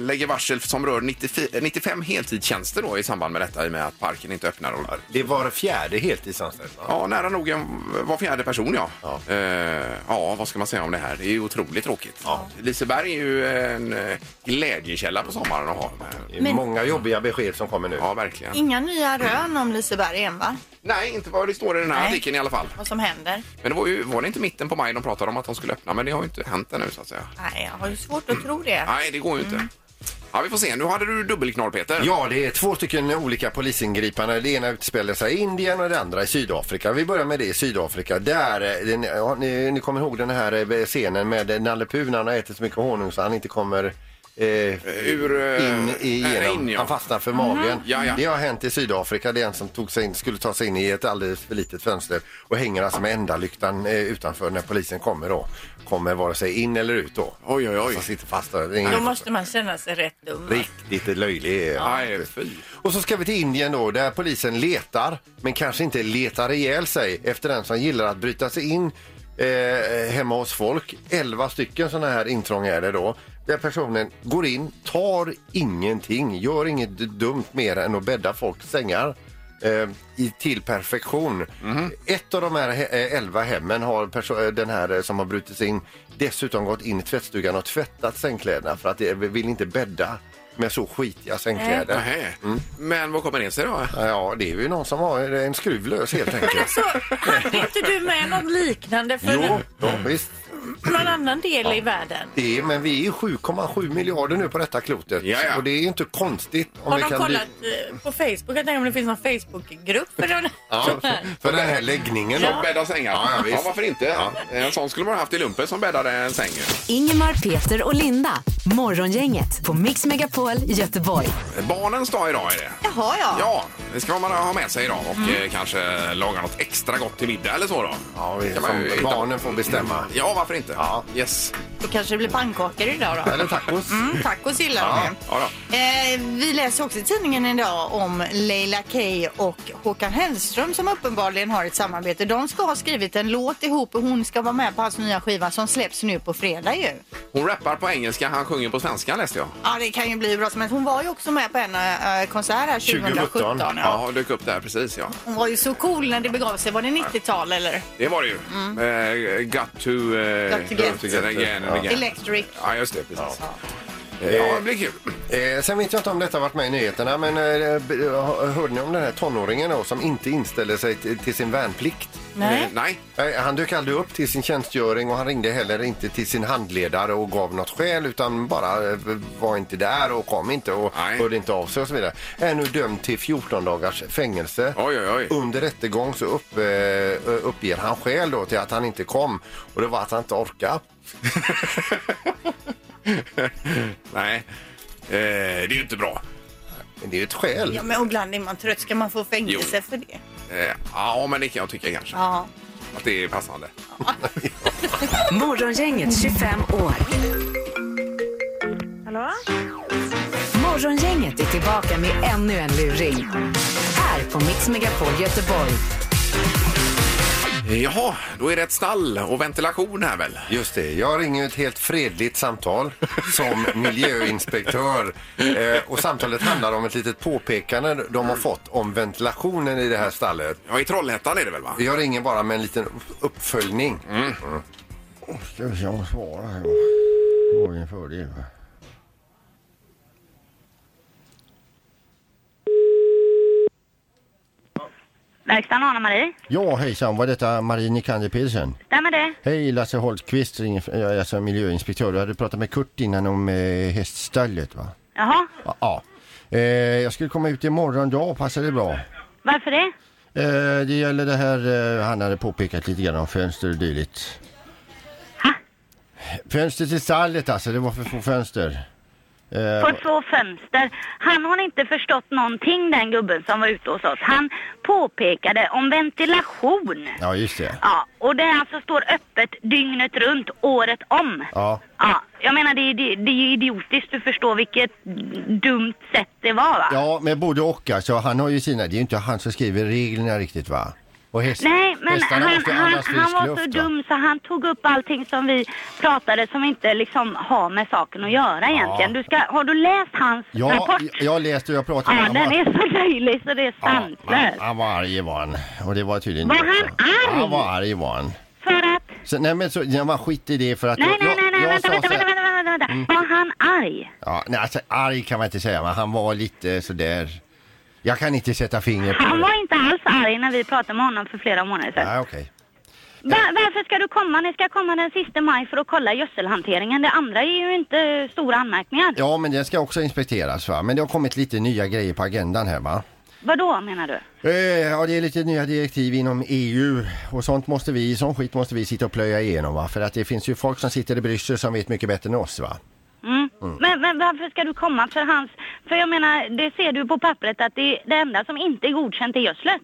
Speaker 2: lägger varsel som rör 90, 95 heltidstjänster då i samband med detta i och med att parken inte öppnar. Och,
Speaker 3: Det var fjärde heltidsanställd va?
Speaker 2: ja, nära nog en, var fjärde person ja. Ja. Eh, ja, vad ska man säga om det här? Det är ju otroligt tråkigt. Liseberg är ju en eh, glädjekälla på sommaren att ha.
Speaker 3: Det är Många jobbiga besked som kommer nu.
Speaker 2: Ja, verkligen.
Speaker 4: Inga nya rön om Liseberg än va?
Speaker 2: Nej, inte vad det står i den här
Speaker 4: Nej.
Speaker 2: artikeln i alla fall.
Speaker 4: Vad som händer?
Speaker 2: Men det var, ju, var det inte mitten på maj de pratade om att de skulle öppna? Men det har ju inte hänt ännu så att säga.
Speaker 4: Nej, jag har ju svårt att tro det.
Speaker 2: Nej, det går ju inte. Ja, vi får se. Nu hade du dubbelknorr, Peter.
Speaker 3: Ja, det är två stycken olika polisingripanden. Det ena utspelar sig i Indien och det andra i Sydafrika. Vi börjar med det i Sydafrika. Där, eh, den, ja, ni, ni kommer ihåg den här eh, scenen med Nalle Puh när han har ätit så mycket honung så han inte kommer eh,
Speaker 2: Ur... eh,
Speaker 3: in i
Speaker 2: äh,
Speaker 3: genom.
Speaker 2: in, ja.
Speaker 3: Han fastnar för magen.
Speaker 2: Ja, ja.
Speaker 3: Det har hänt i Sydafrika. Det är en som tog sig in, skulle ta sig in i ett alldeles för litet fönster och hänger alltså med enda lyktan eh, utanför när polisen kommer då. Kommer vare sig in eller ut då.
Speaker 2: Oj, oj, oj.
Speaker 3: Så sitter fast där. Det är ingen-
Speaker 4: Då måste man känna sig rätt dum. va?
Speaker 3: Riktigt löjlig. eh,
Speaker 2: Nej, fy.
Speaker 3: och så ska vi till Indien då, där polisen letar, men kanske inte letar ihjäl sig efter den som gillar att bryta sig in eh, hemma hos folk. Elva stycken sådana här intrång är det då. Där personen går in, tar ingenting, gör inget dumt mer än att bädda folks sängar. eh, i, till perfektion. Ett av de här he- eh, elva hemmen har perso- eh, den här eh, som har brutits in dessutom gått in i tvättstugan och tvättat sängkläderna för att det vi vill inte bädda med så skitiga sängkläder.
Speaker 2: Nähä.
Speaker 3: Mm.
Speaker 2: Men vad kommer det sig då?
Speaker 3: Ja, det är ju någon som har en skruv lös helt enkelt.
Speaker 4: Så, hade inte du med något liknande för
Speaker 3: Jo, ja, visst.
Speaker 4: någon annan del i världen?
Speaker 3: Det är, men vi är 7,7 miljarder nu på detta klotet.
Speaker 2: Ja, ja.
Speaker 3: Och det är inte konstigt om
Speaker 4: Har
Speaker 3: vi
Speaker 4: de
Speaker 3: kan
Speaker 4: kollat eh, på Facebook? Jag tänker om det finns någon Facebookgrupp för den
Speaker 3: Ja, för- för den här läggningen.
Speaker 2: De bäddar sängar.
Speaker 3: Ja, ja, visst.
Speaker 2: varför inte? En sån skulle man haft i lumpen som bäddade en säng.
Speaker 1: Ingemar, Peter och Linda. Morgongänget på Mix Megapol Göteborg.
Speaker 2: Barnens dag idag är det.
Speaker 4: Jaha, ja.
Speaker 2: Ja, det ska man ha med sig idag och eh, kanske laga något extra gott till middag eller så då.
Speaker 3: Ja, vi,
Speaker 2: Kan man ju
Speaker 3: som
Speaker 2: hitta-
Speaker 3: barnen får bestämma.
Speaker 2: Ja, varför inte?
Speaker 3: Ja.
Speaker 2: Yes.
Speaker 4: Då kanske det blir pannkakor idag då.
Speaker 3: Eller tacos.
Speaker 4: Mm, tacos gillar
Speaker 2: Ja,
Speaker 4: de.
Speaker 2: ja
Speaker 4: Eh, vi läser också i tidningen idag om Leila Kay och Håkan Hellström som uppenbarligen har ett samarbete. De ska ha skrivit en låt ihop och hon ska vara med på hans nya skiva som släpps nu på fredag ju.
Speaker 2: Hon rappar på engelska, han sjunger på svenska läste jag.
Speaker 4: Ja, det kan ju bli bra som helst. Hon var ju också med på en eh, konsert här 2017.
Speaker 3: 2017,
Speaker 4: ja.
Speaker 2: Ja, dök upp där precis ja.
Speaker 4: Hon var ju så cool när det begav sig. Var det 90-tal eller?
Speaker 2: Det var det ju. Eh, got to... eh,
Speaker 4: Mm. Got to get.
Speaker 2: again and again.
Speaker 4: Electric.
Speaker 2: Ja, Eh. just det. Precis. Ja, det blir kul.
Speaker 3: Eh, sen vet jag inte om detta varit med i nyheterna, men eh, b- hörde ni om den här tonåringen då, som inte inställde sig t- till sin värnplikt?
Speaker 2: Eh,
Speaker 4: Nej.
Speaker 2: Nej.
Speaker 3: Nej, Han dök aldrig upp till sin tjänstgöring och han ringde heller inte till sin handledare och gav något skäl utan bara eh, var inte där och kom inte och
Speaker 2: Nej.
Speaker 3: hörde inte av sig och så vidare. Är nu dömd till 14 dagars fängelse.
Speaker 2: Oj, oj, oj.
Speaker 3: Under rättegång så upp, eh, uppger han skäl då till att han inte kom och det var att han inte orkade.
Speaker 2: Nej. Eh, det är ju inte bra.
Speaker 3: Men det är ju ett skäl.
Speaker 4: Ja, men ibland är man trött. Ska man få fängelse för det?
Speaker 2: Eh, ja, men det kan jag tycka kanske.
Speaker 4: Ja.
Speaker 2: Att det är passande.
Speaker 1: Morgongänget 25 år.
Speaker 6: Hallå?
Speaker 1: Morgongänget är tillbaka med ännu en luring. Här på Mix Megapol Göteborg.
Speaker 2: Eh, Jaha, då är det ett stall och ventilation här väl?
Speaker 3: Just det, jag ringer ju ett helt fredligt samtal som miljöinspektör eh, och samtalet handlar om ett litet påpekande de har fått om ventilationen i det här stallet.
Speaker 2: Ja, i Trollhättan är det väl va?
Speaker 3: Jag ringer bara med en liten uppföljning.
Speaker 7: Mm. Ska vi se om hon svarar här. då. Det var ju en fördel. va?
Speaker 6: Verkstaden Anna-Marie.
Speaker 7: Ja, hejsan. Var detta Marie Nikander Pedersen?
Speaker 6: Stämmer det?
Speaker 7: Hej, Lasse Holtqvist. ringer- Jag är alltså miljöinspektör. Du hade pratat med Kurt innan om eh, häststallet, va?
Speaker 6: Jaha,
Speaker 7: Ja. ja. Eh, jag skulle komma ut imorgon dag. Passar det bra?
Speaker 6: varför det?
Speaker 7: Eh, det gäller det här eh, han hade påpekat lite grann om fönster och dylikt.
Speaker 6: Ha?
Speaker 7: Fönster till stallet alltså, det var för få fönster. Eh,
Speaker 6: På två fönster. Han har inte förstått någonting den gubben som var ute hos oss. Han påpekade om ventilation.
Speaker 7: ja, just det.
Speaker 6: Ja, och det alltså står öppet dygnet runt, året om.
Speaker 7: Ja.
Speaker 6: Ja, jag menar det är, det, det är ju idiotiskt, du förstår vilket dumt sätt det var va?
Speaker 7: Ja, men både och alltså. Han har ju sina, det är ju inte han som skriver reglerna riktigt va? Och häst,
Speaker 6: Nej, men han,
Speaker 7: hästarna
Speaker 6: han,
Speaker 7: måste
Speaker 6: han,
Speaker 7: andas frisk
Speaker 6: var
Speaker 7: luft,
Speaker 6: så
Speaker 7: va?
Speaker 6: dum så han tog upp allting som vi pratade som inte liksom har med saken att göra egentligen. Du ska, har du läst hans
Speaker 7: Ja,
Speaker 6: rapport?
Speaker 7: jag har läst och jag pratade
Speaker 6: Ja,
Speaker 7: han
Speaker 6: den
Speaker 7: var-
Speaker 6: är så löjlig så det är
Speaker 7: Ja, han,
Speaker 6: sanslöst.
Speaker 7: han var arg var han. Och det var tydligen...
Speaker 6: Var han arg?
Speaker 7: Han var arg var han.
Speaker 6: För att...
Speaker 7: Så, nej men så, nej, man skit i det för att...
Speaker 6: Nej,
Speaker 7: jag-
Speaker 6: nej,
Speaker 7: jag-
Speaker 6: nej, nej,
Speaker 7: jag
Speaker 6: vänta,
Speaker 7: sa
Speaker 6: vänta,
Speaker 7: så här- Mm.
Speaker 6: vänta, vänta, vänta, vänta. Var han arg?
Speaker 7: Ja, nej, alltså arg kan man inte säga men han var lite sådär... Jag kan inte sätta fingret på
Speaker 6: Han
Speaker 7: det.
Speaker 6: var inte alls arg när vi pratade med honom för flera månader sedan.
Speaker 7: Nej, okej.
Speaker 6: Va, varför ska du komma? Ni ska komma den sista maj för att kolla gödselhanteringen. Det andra är ju inte stora anmärkningar.
Speaker 7: Ja, men den ska också inspekteras va. Men det har kommit lite nya grejer på agendan här va.
Speaker 6: Vad då menar du?
Speaker 7: Eh, Ja, det är lite nya direktiv inom EU och sånt måste vi, sån skit måste vi sitta och plöja igenom va. För att det finns ju folk som sitter i Bryssel som vet mycket bättre än oss va.
Speaker 6: Mm. Men, men varför ska du komma för hans... För jag menar, det ser du på pappret att det, det enda som inte är godkänt är gödslet.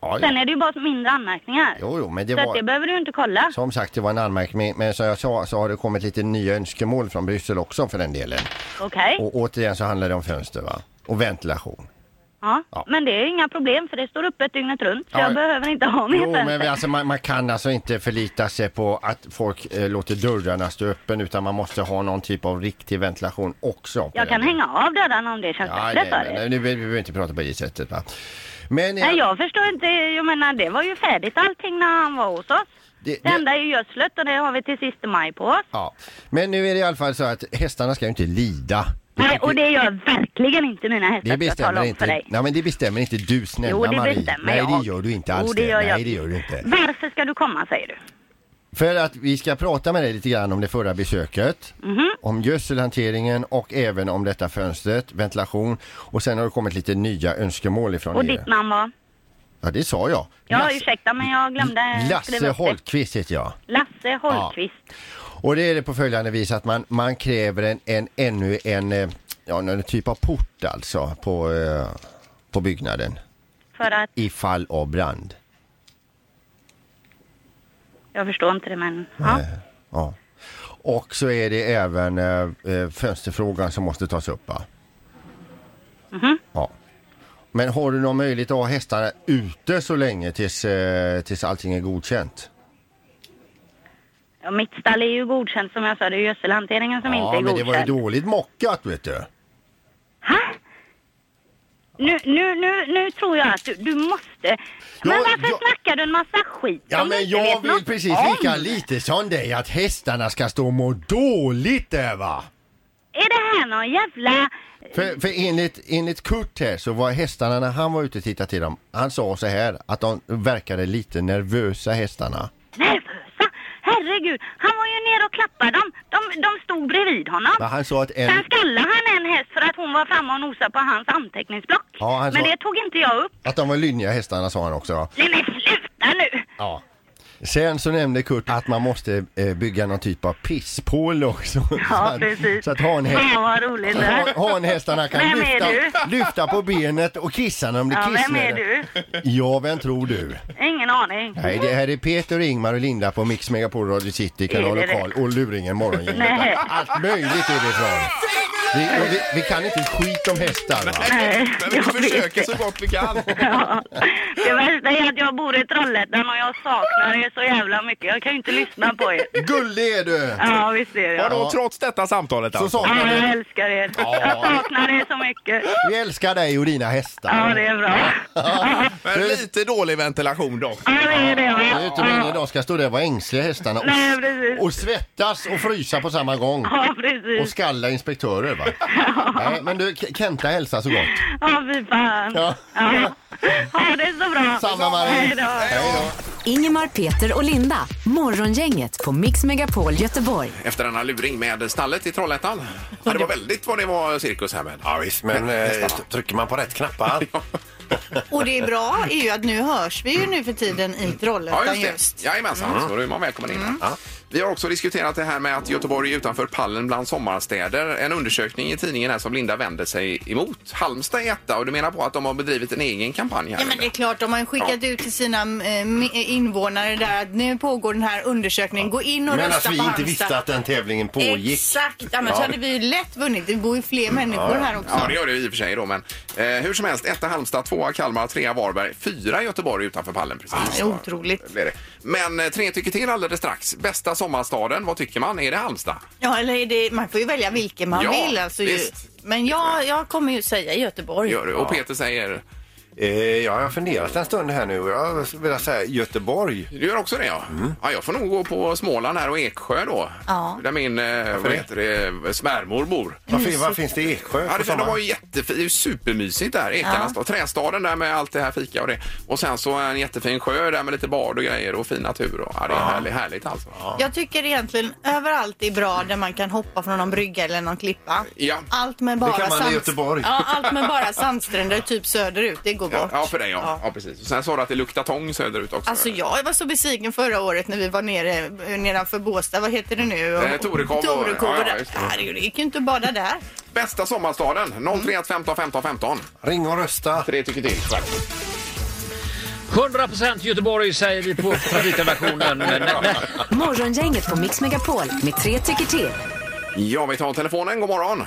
Speaker 7: Ja,
Speaker 6: Sen
Speaker 7: ja.
Speaker 6: är det ju bara mindre anmärkningar.
Speaker 7: Jo, jo, men det
Speaker 6: så att det
Speaker 7: var...
Speaker 6: behöver du inte kolla.
Speaker 7: Som sagt, det var en anmärkning, men som jag sa så har det kommit lite nya önskemål från Bryssel också för den delen.
Speaker 6: Okej?
Speaker 7: Och återigen så handlar det om fönster va? Och ventilation.
Speaker 6: Ja.
Speaker 7: Ja.
Speaker 6: Men det är inga problem för det står öppet dygnet runt. Så
Speaker 7: Ja.
Speaker 6: jag behöver inte ha mer
Speaker 7: Jo, men vi,
Speaker 6: fönster.
Speaker 7: alltså, man, man kan alltså inte förlita sig på att folk eh, låter dörrarna stå öppen utan man måste ha någon typ av riktig ventilation också. på
Speaker 6: Jag kan
Speaker 7: den.
Speaker 6: hänga av dörrarna om det känns
Speaker 7: Ja,
Speaker 6: bättre
Speaker 7: nej,
Speaker 6: för
Speaker 7: men,
Speaker 6: dig.
Speaker 7: nej, nu behöver vi inte prata på det sättet va.
Speaker 3: Men eh,
Speaker 6: Nej, jag förstår inte. Jag menar, det var ju färdigt allting när han var hos oss.
Speaker 3: Det-
Speaker 6: Det,
Speaker 3: det-
Speaker 6: enda är ju gödslet och det har vi till sista maj på oss.
Speaker 3: Ja. Men nu är det i alla fall så att hästarna ska ju inte lida.
Speaker 6: Nej, och det gör verkligen inte mina hästar,
Speaker 3: Det
Speaker 6: ska jag
Speaker 3: bestämmer
Speaker 6: tala om
Speaker 3: inte,
Speaker 6: för dig.
Speaker 3: nej, men det bestämmer inte du snälla
Speaker 6: Jo, det
Speaker 3: Marie.
Speaker 6: bestämmer
Speaker 3: nej,
Speaker 6: jag.
Speaker 3: det gör du inte alls.
Speaker 6: Jo, det gör jag.
Speaker 3: Nej, det gör du inte.
Speaker 6: Varför ska du komma, säger du?
Speaker 3: För att vi ska prata med dig lite grann om det förra besöket,
Speaker 6: Mhm.
Speaker 3: om gödselhanteringen och även om detta fönstret, ventilation och sen har det kommit lite nya önskemål ifrån
Speaker 6: Och
Speaker 3: er.
Speaker 6: ditt namn var?
Speaker 3: Ja, det sa jag.
Speaker 6: Ja,
Speaker 3: Lasse-
Speaker 6: ursäkta, men jag glömde
Speaker 3: Lasse
Speaker 6: skriva upp det.
Speaker 3: Holtqvist heter jag.
Speaker 6: Lasse Holmqvist.
Speaker 3: Och det är det på följande vis att man, man kräver en, en ännu en, eh, ja, en typ av port alltså på, eh, på byggnaden
Speaker 6: För att,
Speaker 3: ifall av brand.
Speaker 6: jag förstår inte det, men ja.
Speaker 3: Eh, ja. Och så är det även eh, eh, fönsterfrågan som måste tas upp va?
Speaker 6: Mhm.
Speaker 3: Ja. Men har du någon möjlighet att ha hästarna ute så länge tills, eh, tills allting är godkänt?
Speaker 6: ja. Mitt stall är ju godkänt som jag sa, det är gödselhanteringen som
Speaker 3: ja,
Speaker 6: inte är
Speaker 3: men det
Speaker 6: godkänd.
Speaker 3: var ju dåligt mockat vet du.
Speaker 6: Ha? Nu, nu, nu, nu tror jag att du, du måste... men varför
Speaker 3: jag-
Speaker 6: snackar du en massa skit
Speaker 3: Ja
Speaker 6: som du
Speaker 3: men
Speaker 6: inte
Speaker 3: jag
Speaker 6: vet
Speaker 3: vill
Speaker 6: något
Speaker 3: precis
Speaker 6: om?
Speaker 3: lika lite som dig att hästarna ska stå och må dåligt där va?
Speaker 6: Är det här någon jävla...
Speaker 3: För, för enligt, enligt Kurt här så var hästarna när han var ute och tittade till dem, han sa så här att de verkade lite nervösa hästarna.
Speaker 6: Nervösa? Herregud, han var ju nere och klappade dem. De, de stod bredvid honom.
Speaker 3: Men han sa att en...
Speaker 6: Sen skallade han en häst för att hon var framme och nosade på hans anteckningsblock.
Speaker 3: Ja, han
Speaker 6: Men
Speaker 3: sa-
Speaker 6: det tog inte jag upp.
Speaker 3: Att de var lynniga hästarna sa han också. ja.
Speaker 6: Nej men sluta nu!
Speaker 3: Ja. Sen så nämnde Kurt att man måste eh, bygga någon typ av pisspål också. så
Speaker 6: Ja,
Speaker 3: att,
Speaker 6: precis.
Speaker 3: Så att ha en häst...
Speaker 6: Fan vad roligt det här.
Speaker 3: Ha, ha en hästarna kan
Speaker 6: Vem är
Speaker 3: lyfta, lyfta på benet och kissa när de blir
Speaker 6: Ja, vem är
Speaker 3: kissnödiga. Ja, vem tror du?
Speaker 6: Ingen aning.
Speaker 3: Nej, det här är Peter, Ingmar och Linda på Mix Megapol Radio City,
Speaker 6: Är
Speaker 3: Kanal
Speaker 6: det
Speaker 3: och Karl
Speaker 6: det?
Speaker 3: och Luringen Morgongänget.
Speaker 6: Nej.
Speaker 3: Allt möjligt är det ifrån. Vi, och vi, vi kan inte ett skit om hästar va?
Speaker 6: Nej,
Speaker 2: Men vi
Speaker 6: jag vet
Speaker 2: försöker
Speaker 6: det.
Speaker 2: så gott vi kan.
Speaker 6: Ja. Det värsta är att jag bor i Trollhättan och jag saknar er så jävla mycket. Jag kan ju inte lyssna på er.
Speaker 3: Gullig är du!
Speaker 6: Ja, visst är det.
Speaker 2: Vadå, trots detta samtalet
Speaker 3: Så
Speaker 2: alltså?
Speaker 3: sa
Speaker 6: Ja,
Speaker 3: han,
Speaker 6: jag älskar er. Jag saknar er så mycket.
Speaker 3: vi älskar dig och dina
Speaker 6: Ja,
Speaker 3: hästar.
Speaker 6: det är bra.
Speaker 2: Men lite dålig ventilation dock.
Speaker 6: Ja, det är det.
Speaker 3: Det är ju
Speaker 6: va?
Speaker 3: inte meningen idag ska stå där och vara ängsliga hästarna
Speaker 6: Nej,
Speaker 3: och,
Speaker 6: precis.
Speaker 3: och svettas och frysa på samma gång.
Speaker 6: Ja,
Speaker 3: Och
Speaker 6: precis.
Speaker 3: skalla inspektörer va? Nej, men du K- Kenta hälsa så gott.
Speaker 6: Ja, fy fan.
Speaker 3: Ja.
Speaker 6: Ja. Ha det så bra.
Speaker 3: Samma, Marie.
Speaker 6: Hej då.
Speaker 1: Ingemar, Peter och Linda. Morgongänget på Mix Megapol Göteborg.
Speaker 2: Efter denna luring med stallet i Trollhättan. Ja, det var väldigt vad det var cirkus här med.
Speaker 5: Ja, visst, men eh, t- trycker man på rätt knappar?
Speaker 4: Och det är bra är ju att nu hörs vi ju nu för tiden i Trollhättan
Speaker 2: Ja, just det.
Speaker 4: just. Mm.
Speaker 2: Jajamensan, så då är man välkommen in. här.
Speaker 5: Ja.
Speaker 2: Vi har också diskuterat det här med att Göteborg är utanför pallen bland sommarstäder. En undersökning i tidningen här som Linda vänder sig emot. Halmstad är etta och du menar på att de har bedrivit en egen kampanj här?
Speaker 4: Ja, men
Speaker 2: eller?
Speaker 4: det är klart, om man skickat ut till sina eh, me- invånare där att nu pågår den här undersökningen, gå in och
Speaker 5: Men att
Speaker 4: rösta
Speaker 5: vi
Speaker 4: på
Speaker 5: inte
Speaker 4: Halmstad.
Speaker 5: visste att den tävlingen pågick.
Speaker 4: Exakt, annars
Speaker 5: Ja.
Speaker 4: hade vi ju lätt vunnit. Det bor ju fler människor här också.
Speaker 2: Ja, det gör det ju i och för sig då, men eh, hur som helst. Etta Halmstad, tvåa Kalmar, trea Varberg, fyra Göteborg utanför pallen precis.
Speaker 4: Ah, det är otroligt.
Speaker 2: Blir det. Men eh, tre tycker till alldeles strax. Bästa sommarstaden, vad tycker man? Är det Halmstad?
Speaker 4: Ja, eller är det, man får ju välja vilken man
Speaker 2: Ja,
Speaker 4: vill. Alltså, ju.
Speaker 2: visst.
Speaker 4: Men jag, jag kommer ju säga Göteborg.
Speaker 2: Gör du? Och Peter säger...
Speaker 5: Eh, jag har funderat en stund här nu och jag vill säga Göteborg.
Speaker 2: Du gör också det ja. ja. Jag får nog gå på Småland här och Eksjö då.
Speaker 4: Ja.
Speaker 2: Där min eh, vad
Speaker 5: det?
Speaker 2: heter det, smärmor bor.
Speaker 5: Varför, varför finns det i Eksjö?
Speaker 2: Ja,
Speaker 5: på
Speaker 2: det, för de
Speaker 5: sommaren?
Speaker 2: var ju jättefin, det är ju supermysigt där, Ekarnas ja. Trästaden där med allt det här fika och det. Och sen så en jättefin sjö där med lite bad och grejer och fin natur. Och, ja, det är härligt, härligt alltså. Ja.
Speaker 4: Jag tycker egentligen överallt är bra där man kan hoppa från någon brygga eller någon klippa.
Speaker 2: Ja.
Speaker 4: Allt med bara
Speaker 5: kan man i
Speaker 4: sand-
Speaker 5: Göteborg.
Speaker 4: Ja, allt med bara sandstränder typ söderut, det går bort.
Speaker 2: Ja, för dig ja. ja. precis. Och sen sa du att det luktar tång söderut också.
Speaker 4: Alltså jag var så besviken förra året när vi var nere eh, nedanför Båstad, vad heter det nu?
Speaker 2: Eh, Torekov och-
Speaker 4: Torekov
Speaker 2: ja,
Speaker 4: och
Speaker 2: ja,
Speaker 4: där.
Speaker 2: just det.
Speaker 4: Herregud, det gick ju inte att bada där.
Speaker 2: Bästa sommarstaden
Speaker 4: Mm.
Speaker 2: 031 15 15 15.
Speaker 5: Ring och rösta.
Speaker 2: Tre tycker till.
Speaker 8: 100% Göteborg säger vi på trafikredaktionen. Men, men,
Speaker 1: Morgongänget på Mix Megapol med tre tycker till.
Speaker 2: Ja, vi tar telefonen. God morgon.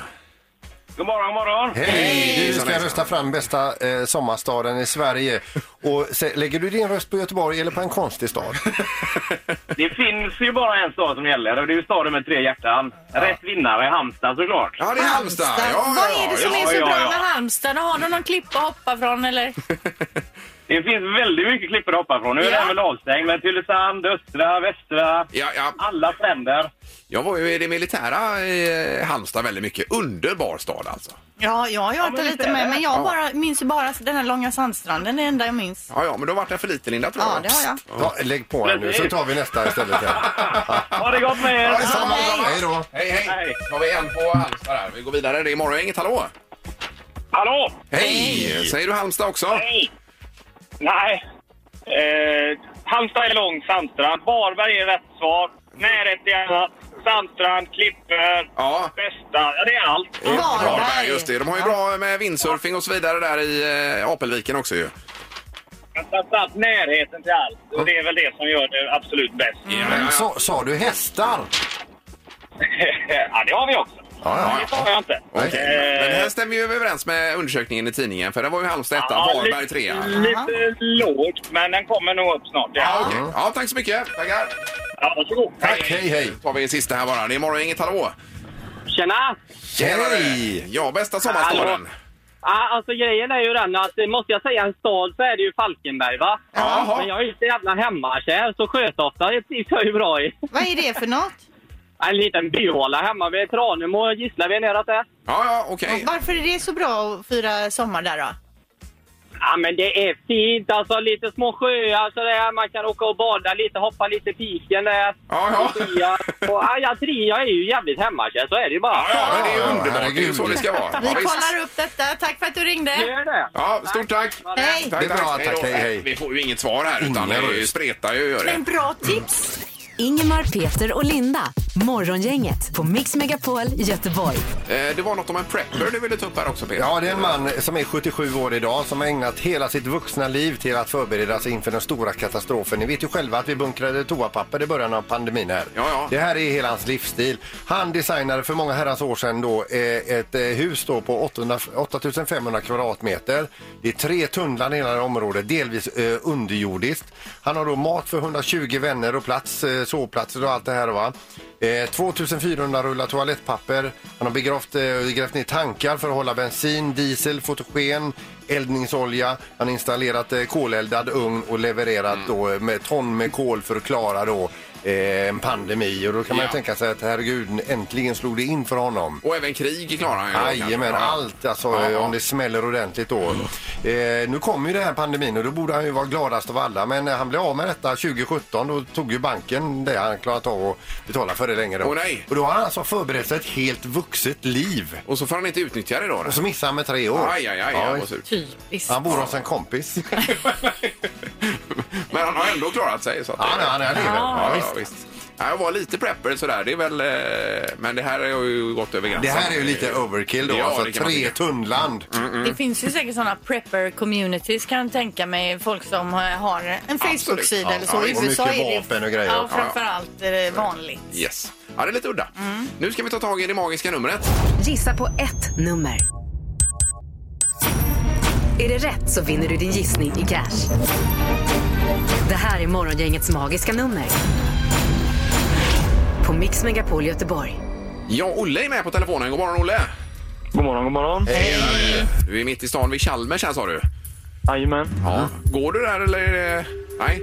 Speaker 9: God morgon, god morgon.
Speaker 5: Hej! Du
Speaker 2: Hejsan,
Speaker 5: ska
Speaker 2: hejsan.
Speaker 5: rösta fram bästa eh, sommarstaden i Sverige. Och se, lägger du din röst på Göteborg eller på en konstig stad?
Speaker 9: Det finns ju bara en stad som gäller och det är ju staden med tre hjärtan. Rätt vinnare är Halmstad såklart.
Speaker 2: Ja, det är Halmstad. Ja,
Speaker 4: Vad
Speaker 2: ja,
Speaker 4: är det som
Speaker 2: ja.
Speaker 4: är så
Speaker 9: ja,
Speaker 4: bra
Speaker 9: ja.
Speaker 4: med Halmstad? Har de någon klippa att hoppa från eller?
Speaker 9: Det finns väldigt mycket klippor att hoppa från. Nu är
Speaker 4: Ja.
Speaker 9: det även lavstäng, men Tylösand, Östra, Västra,
Speaker 2: Ja, ja.
Speaker 9: alla stränder.
Speaker 2: Jag var ju i det militära i eh, Halmstad väldigt mycket. Underbar stad alltså.
Speaker 4: Ja, jag har ju varit
Speaker 9: men
Speaker 4: där
Speaker 9: visst
Speaker 4: lite
Speaker 9: är
Speaker 4: med,
Speaker 9: det.
Speaker 4: men jag
Speaker 2: Ja.
Speaker 4: bara, minns ju bara den här långa sandstranden, det enda jag minns.
Speaker 2: Ja, ja, men du har varit där för lite Linda tror
Speaker 4: Ja,
Speaker 2: jag.
Speaker 4: det har jag.
Speaker 3: Ja, lägg på här nu så tar vi nästa istället. Här.
Speaker 9: Ha det gott med er!
Speaker 2: Ja, detsamma, detsamma.
Speaker 3: Hej då.
Speaker 2: Hej, hej!
Speaker 9: Hej.
Speaker 2: Då har vi en på Halmstad här. Vi går vidare. Det är morgon. inget hallå!
Speaker 9: Hallå!
Speaker 2: Hej! Säger du Halmstad också?
Speaker 9: Hej! Nej. Eh, Halmstad är lång, Sandstrand. Varberg är rätt svar. Närhet är annat. Sandstrand, Klippor,
Speaker 2: Ja.
Speaker 9: Västa. Ja, det är allt.
Speaker 2: Varberg, Just det. De har ju bra med vindsurfing och så vidare där i eh, Apelviken också ju.
Speaker 9: Framförallt närheten till allt. Och det är väl det som gör det absolut bäst.
Speaker 3: Så, sa du hästar?
Speaker 9: ja, det har vi också.
Speaker 3: Ja,
Speaker 9: Det har jag inte.
Speaker 2: Okej,
Speaker 9: Eh,
Speaker 2: men det här stämmer ju överens med undersökningen i tidningen för det var ju Halmstad etta, Varberg
Speaker 9: lite- Mm.
Speaker 2: trea.
Speaker 9: Lite lågt, men den kommer nog upp snart.
Speaker 2: Ja,
Speaker 9: Ja,
Speaker 2: okej. ja, tack så mycket. Tackar.
Speaker 9: ja, varsågod.
Speaker 3: Tack, hej, hej.
Speaker 2: Då tar vi en sista här bara. Det är morgon, inget hallå.
Speaker 9: Tjena!
Speaker 2: Hej! Ja, bästa sommarstaden.
Speaker 9: Hallå. Ja, alltså grejen är ju den att eh, måste jag säga en stad så är det ju Falkenberg va?
Speaker 2: Jaha.
Speaker 9: Men jag är ju så jävla hemmakär så Sjötofta det trivs jag ju bra i.
Speaker 4: Vad är det för något?
Speaker 9: En liten byhåla hemma vid Tranemo och Gislaved neråt där.
Speaker 2: Ja, ja, okej.
Speaker 4: Varför är det så bra att fira sommar där då?
Speaker 9: Ja men det är fint alltså lite små sjöar sådär man kan åka och bada lite, hoppa lite i piken där.
Speaker 2: Ja, ja.
Speaker 9: Ja, och, ja, jag, tri, jag är ju jävligt hemmakär så är det ju bara.
Speaker 2: Ja, ja, men det är ju
Speaker 3: Ja,
Speaker 2: underbart. Det är ju
Speaker 3: herregud.
Speaker 2: så det ska vara.
Speaker 4: Vi
Speaker 2: Ja, visst.
Speaker 4: kollar upp detta. Tack för att du ringde.
Speaker 9: Gör det.
Speaker 2: Ja, stort tack.
Speaker 4: Hej!
Speaker 2: Tack,
Speaker 3: Det är bra, tack,
Speaker 2: då.
Speaker 3: hej, hej.
Speaker 2: Vi får ju inget svar här utan det
Speaker 3: Ingen
Speaker 2: är ju
Speaker 3: röst.
Speaker 2: spretar ju gör det.
Speaker 4: Men bra tips!
Speaker 1: Ingemar, Peter och Linda. Morgongänget på Mix Megapol Göteborg.
Speaker 2: Eh, Det var något om en prepper du ville ta upp här också Peter.
Speaker 3: Ja, det är en man som är 77 år idag som har ägnat hela sitt vuxna liv till att förbereda sig inför den stora katastrofen. Ni vet ju själva att vi bunkrade toapapper i början av pandemin här.
Speaker 2: Ja, ja.
Speaker 3: Det här är hela hans livsstil. Han designade för många herrans år sedan då eh, ett eh, hus då på 800 8500 kvadratmeter. Det är tre tunnlar i hela det här området, delvis eh, underjordiskt. Han har då mat för 120 vänner och plats, eh, sovplatser och allt det här va. Eh, 2400 rullar toalettpapper. Han har begravt, eh, grävt ner tankar för att hålla bensin, diesel, fotogen, eldningsolja. Han har installerat eh, koleldad ugn och levererat då eh, med ton med kol för att klara då eh, en pandemi. Och då kan man ju
Speaker 2: Ja.
Speaker 3: tänka sig att herregud, äntligen slog det in för honom.
Speaker 2: Och även krig klarar han ju. då, kanske.
Speaker 3: Jajamän,
Speaker 2: Ja.
Speaker 3: allt alltså
Speaker 2: Ja, ja.
Speaker 3: eh, om det smäller ordentligt då. Eh, nu kommer ju den här pandemin och då borde han ju vara gladast av alla. Men eh, han blev av med detta 2017. Då tog ju banken det han klarat av att betala för det längre. Då.
Speaker 2: Åh, nej.
Speaker 3: Och då har han alltså förberett sig ett helt vuxet liv.
Speaker 2: Och så får han inte utnyttja det då. då.
Speaker 3: Och så missade han med tre år.
Speaker 2: Aj, aj, aj.
Speaker 3: Ja,
Speaker 2: Ja, vad surt.
Speaker 4: Typiskt.
Speaker 3: han bor hos en kompis.
Speaker 2: Men han har ändå klarat sig. Så att
Speaker 3: Ja, nej, han är lever. Ja,
Speaker 2: ja,
Speaker 3: visst.
Speaker 2: ja, visst. Ja, jag var lite prepper sådär. Det är väl, eh, men det här har ju gått över
Speaker 3: Det
Speaker 2: gränsen.
Speaker 3: här är ju lite overkill då.
Speaker 2: Ja, det
Speaker 3: alltså
Speaker 2: kan man
Speaker 3: tre
Speaker 2: tycka. Mm.
Speaker 3: tunnland.
Speaker 4: Det finns ju säkert såna prepper communities kan jag tänka mig. Folk som eh, har en Facebook-sida
Speaker 2: Ja,
Speaker 4: eller så.
Speaker 2: ja,
Speaker 4: I
Speaker 2: visst.
Speaker 3: Och
Speaker 4: USA
Speaker 3: mycket
Speaker 4: är
Speaker 3: vapen
Speaker 4: det
Speaker 3: och grejer
Speaker 4: ja,
Speaker 3: också.
Speaker 4: framförallt eh, vanligt.
Speaker 2: Yes. Ja, det är lite udda.
Speaker 4: Mm.
Speaker 2: Nu ska vi ta tag i det magiska numret.
Speaker 1: Gissa på ett nummer. Är det rätt så vinner du din gissning i cash. Det här är Morgongängets magiska nummer. På Mix Megapol Göteborg.
Speaker 2: Ja, Olle är med på telefonen. God morgon, Olle!
Speaker 9: God morgon, god morgon.
Speaker 2: Du är mitt i stan vid Chalmers här, sa du.
Speaker 9: Jajamän.
Speaker 2: Ja. Går du där eller? är det- Nej?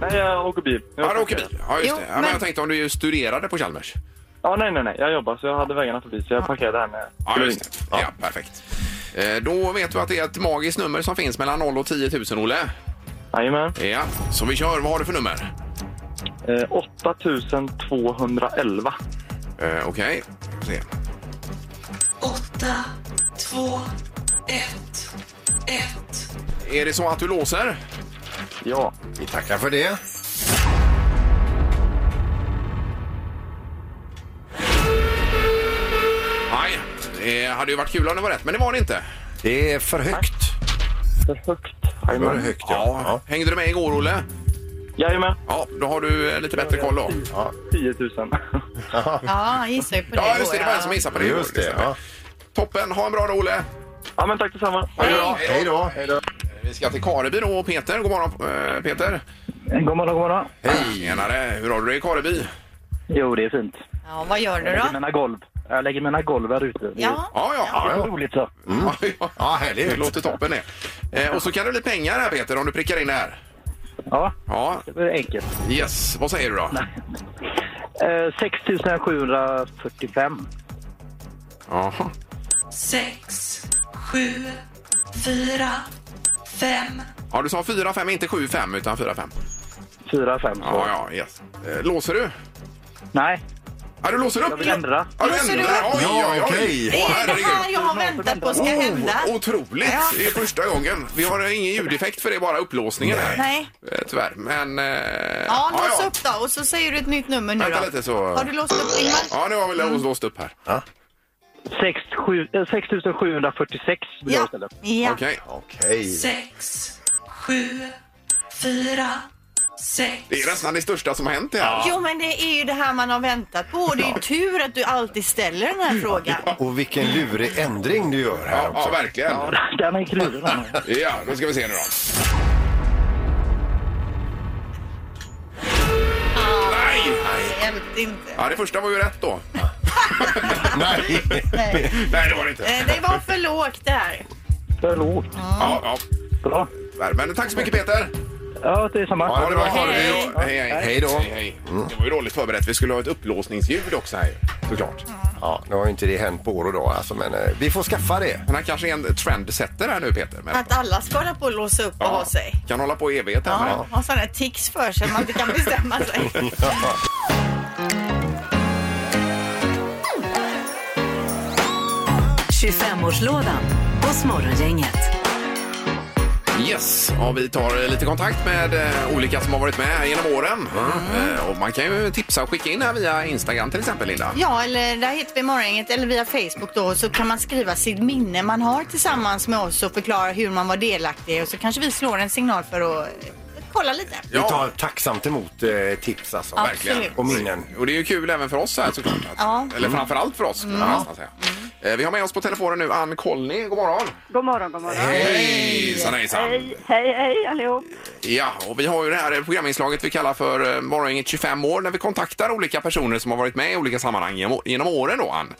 Speaker 9: Nej, jag åker bil. Jag
Speaker 2: Ja, du åker bil. Ja, just
Speaker 4: Jo,
Speaker 2: det. Ja, men...
Speaker 4: men-
Speaker 2: Jag tänkte om du ju studerade på Chalmers.
Speaker 9: Ja, nej, nej, nej. Jag jobbar så jag hade vägarna förbi så jag parkerade här med.
Speaker 2: Ah. Ja, just det. Ja, perfekt. Eh, Då vet du att det är ett magiskt nummer som finns mellan 0 och 10 000, Olle.
Speaker 9: Jajamän.
Speaker 2: Ja, så vi kör. Vad har du för nummer?
Speaker 9: Eh, 8211.
Speaker 2: Eh, Okej. Får se.
Speaker 5: Åtta, två, ett, ett.
Speaker 2: Är det så att du låser?
Speaker 9: Ja.
Speaker 3: Vi tackar för det.
Speaker 2: Nej, det hade ju varit kul om det var rätt, men det var det inte.
Speaker 3: Det är för högt.
Speaker 9: För högt.
Speaker 3: För
Speaker 9: Jajamän.
Speaker 3: högt, ja. ja.
Speaker 2: Hängde du med igår, Olle?
Speaker 9: Jajamän.
Speaker 2: Ja, då har du eh, lite bättre koll då.
Speaker 9: 10 000.
Speaker 4: Ja, gissar ju på det.
Speaker 2: Ja, just det. Det var
Speaker 4: då,
Speaker 2: en som gissade på det.
Speaker 3: Just det.
Speaker 2: stämmer.
Speaker 3: Ja.
Speaker 2: Toppen. Ha en bra dag, Olle.
Speaker 9: ja, men tack detsamma.
Speaker 3: Ja, Hej då.
Speaker 2: Vi ska till Kareby då och Peter. God morgon, eh, Peter.
Speaker 9: God morgon, god morgon.
Speaker 2: Hej. Tjenare. Hur har du det i Kareby?
Speaker 9: Jo, det är fint.
Speaker 4: ja, vad gör du
Speaker 9: Jag lägger
Speaker 4: då?
Speaker 9: mina golv, jag lägger mina golv här ute. Det är
Speaker 4: Ja,
Speaker 2: Ja, ja.
Speaker 3: Ja, Mm.
Speaker 9: roligt så.
Speaker 2: ja.
Speaker 3: ja
Speaker 2: Det
Speaker 3: härligt.
Speaker 2: låter toppen det. Eh, och så kan det bli pengar här Peter om du prickar in det här.
Speaker 10: Ja,
Speaker 2: Ja,
Speaker 10: det är enkelt.
Speaker 2: yes. Vad säger du då?
Speaker 10: Eh, 6745.
Speaker 2: Jaha.
Speaker 11: sex, sju, fyra, fem.
Speaker 2: Ja, du sa 4-5, inte 7-5 utan 4-5.
Speaker 10: 45.
Speaker 2: Ja, ja, yes. Eh, Låser du?
Speaker 10: Nej,
Speaker 2: Ja, du låser upp?
Speaker 10: jag vill ändra.
Speaker 2: Ja, du
Speaker 4: Låser du upp?
Speaker 2: ändrar? Oj, oj, oj.
Speaker 3: Ja, okej.
Speaker 2: Åh,
Speaker 4: Är det det
Speaker 2: herregud.
Speaker 4: här jag har väntat på ska hända?
Speaker 2: Oh, Otroligt! Det är första gången. Vi har ingen ljudeffekt för det, bara upplåsningen här.
Speaker 4: Nej.
Speaker 2: Eh, Tyvärr, men... eh,
Speaker 4: Ja, lås upp då och så säger du ett nytt nummer nu
Speaker 2: Vänta
Speaker 4: då.
Speaker 2: lite så...
Speaker 4: Har du låst upp Ingmar?
Speaker 2: Ja, nu har vi
Speaker 4: Mm.
Speaker 2: låst låst upp här.
Speaker 10: 6, 7, eh, 6746 vill jag
Speaker 4: Ja.
Speaker 10: istället.
Speaker 4: ja.
Speaker 2: Okej.
Speaker 3: Okej.
Speaker 11: sex, sju, fyra, sex.
Speaker 2: Det är nästan det största som har hänt det här.
Speaker 4: Jo, men det är ju det här man har väntat på. Och Det är ju tur att du alltid ställer den här frågan.
Speaker 3: Och vilken lurig ändring du gör här
Speaker 2: Ja, ja,
Speaker 3: också.
Speaker 2: verkligen.
Speaker 10: Den är klurig. den här.
Speaker 2: Ja, då ska vi se nu då. Nej!
Speaker 4: Det hjälpte inte.
Speaker 2: Ja, det första var ju rätt då.
Speaker 3: Nej.
Speaker 2: Nej, det var det inte.
Speaker 4: Eh, Det var för lågt där.
Speaker 10: För lågt.
Speaker 2: Ja, ja.
Speaker 10: Bra.
Speaker 2: Tyvärr. Men tack så mycket Peter!
Speaker 10: Ja, det är samma.
Speaker 3: Ja, det var
Speaker 2: Ha det
Speaker 4: Hej.
Speaker 2: bra. Hej, hej.
Speaker 3: Hej då.
Speaker 2: Hej, hej. Det var ju dåligt förberett. Vi skulle ha ett upplåsningsljud också här såklart.
Speaker 3: Ja, nu har ju inte det hänt på år och dag alltså, men eh, vi får skaffa det.
Speaker 2: Men han kanske är en trendsetter här nu Peter. Men...
Speaker 4: Att alla ska hålla på och låsa upp och ha sig.
Speaker 2: Kan hålla på i evighet här med
Speaker 4: Ja, ha sådana här tics för sig att man inte kan bestämma sig.
Speaker 1: Morgongänget. 25-årslådan hos Morgongänget.
Speaker 2: det. Yes, ja, vi tar eh, lite kontakt med eh, olika som har varit med här genom åren.
Speaker 4: Mm.
Speaker 2: Eh, och man kan ju tipsa och skicka in här via Instagram till exempel Linda.
Speaker 4: Ja, eller där hittar vi morgongänget eller via Facebook då så kan man skriva sitt minne man har tillsammans med oss och förklara hur man var delaktig och så kanske vi slår en signal för att eh, kolla lite.
Speaker 3: Vi tar tacksamt emot eh, tips alltså.
Speaker 4: Ja.
Speaker 2: Verkligen.
Speaker 4: absolut.
Speaker 3: Och minnen.
Speaker 2: Och det är ju kul även för oss här såklart. Att,
Speaker 4: Ja.
Speaker 2: Eller framförallt för oss. kan man nästan säga. Eh, Vi har med oss på telefonen nu Ann Kollny. God morgon!
Speaker 12: God morgon, god morgon.
Speaker 2: Hejsan hejsan!
Speaker 12: hej, hej allihop.
Speaker 2: Ja, och vi har ju det här programinslaget vi kallar för eh, Morgongänget 25 år när vi kontaktar olika personer som har varit med i olika sammanhang genom, genom åren då Ann.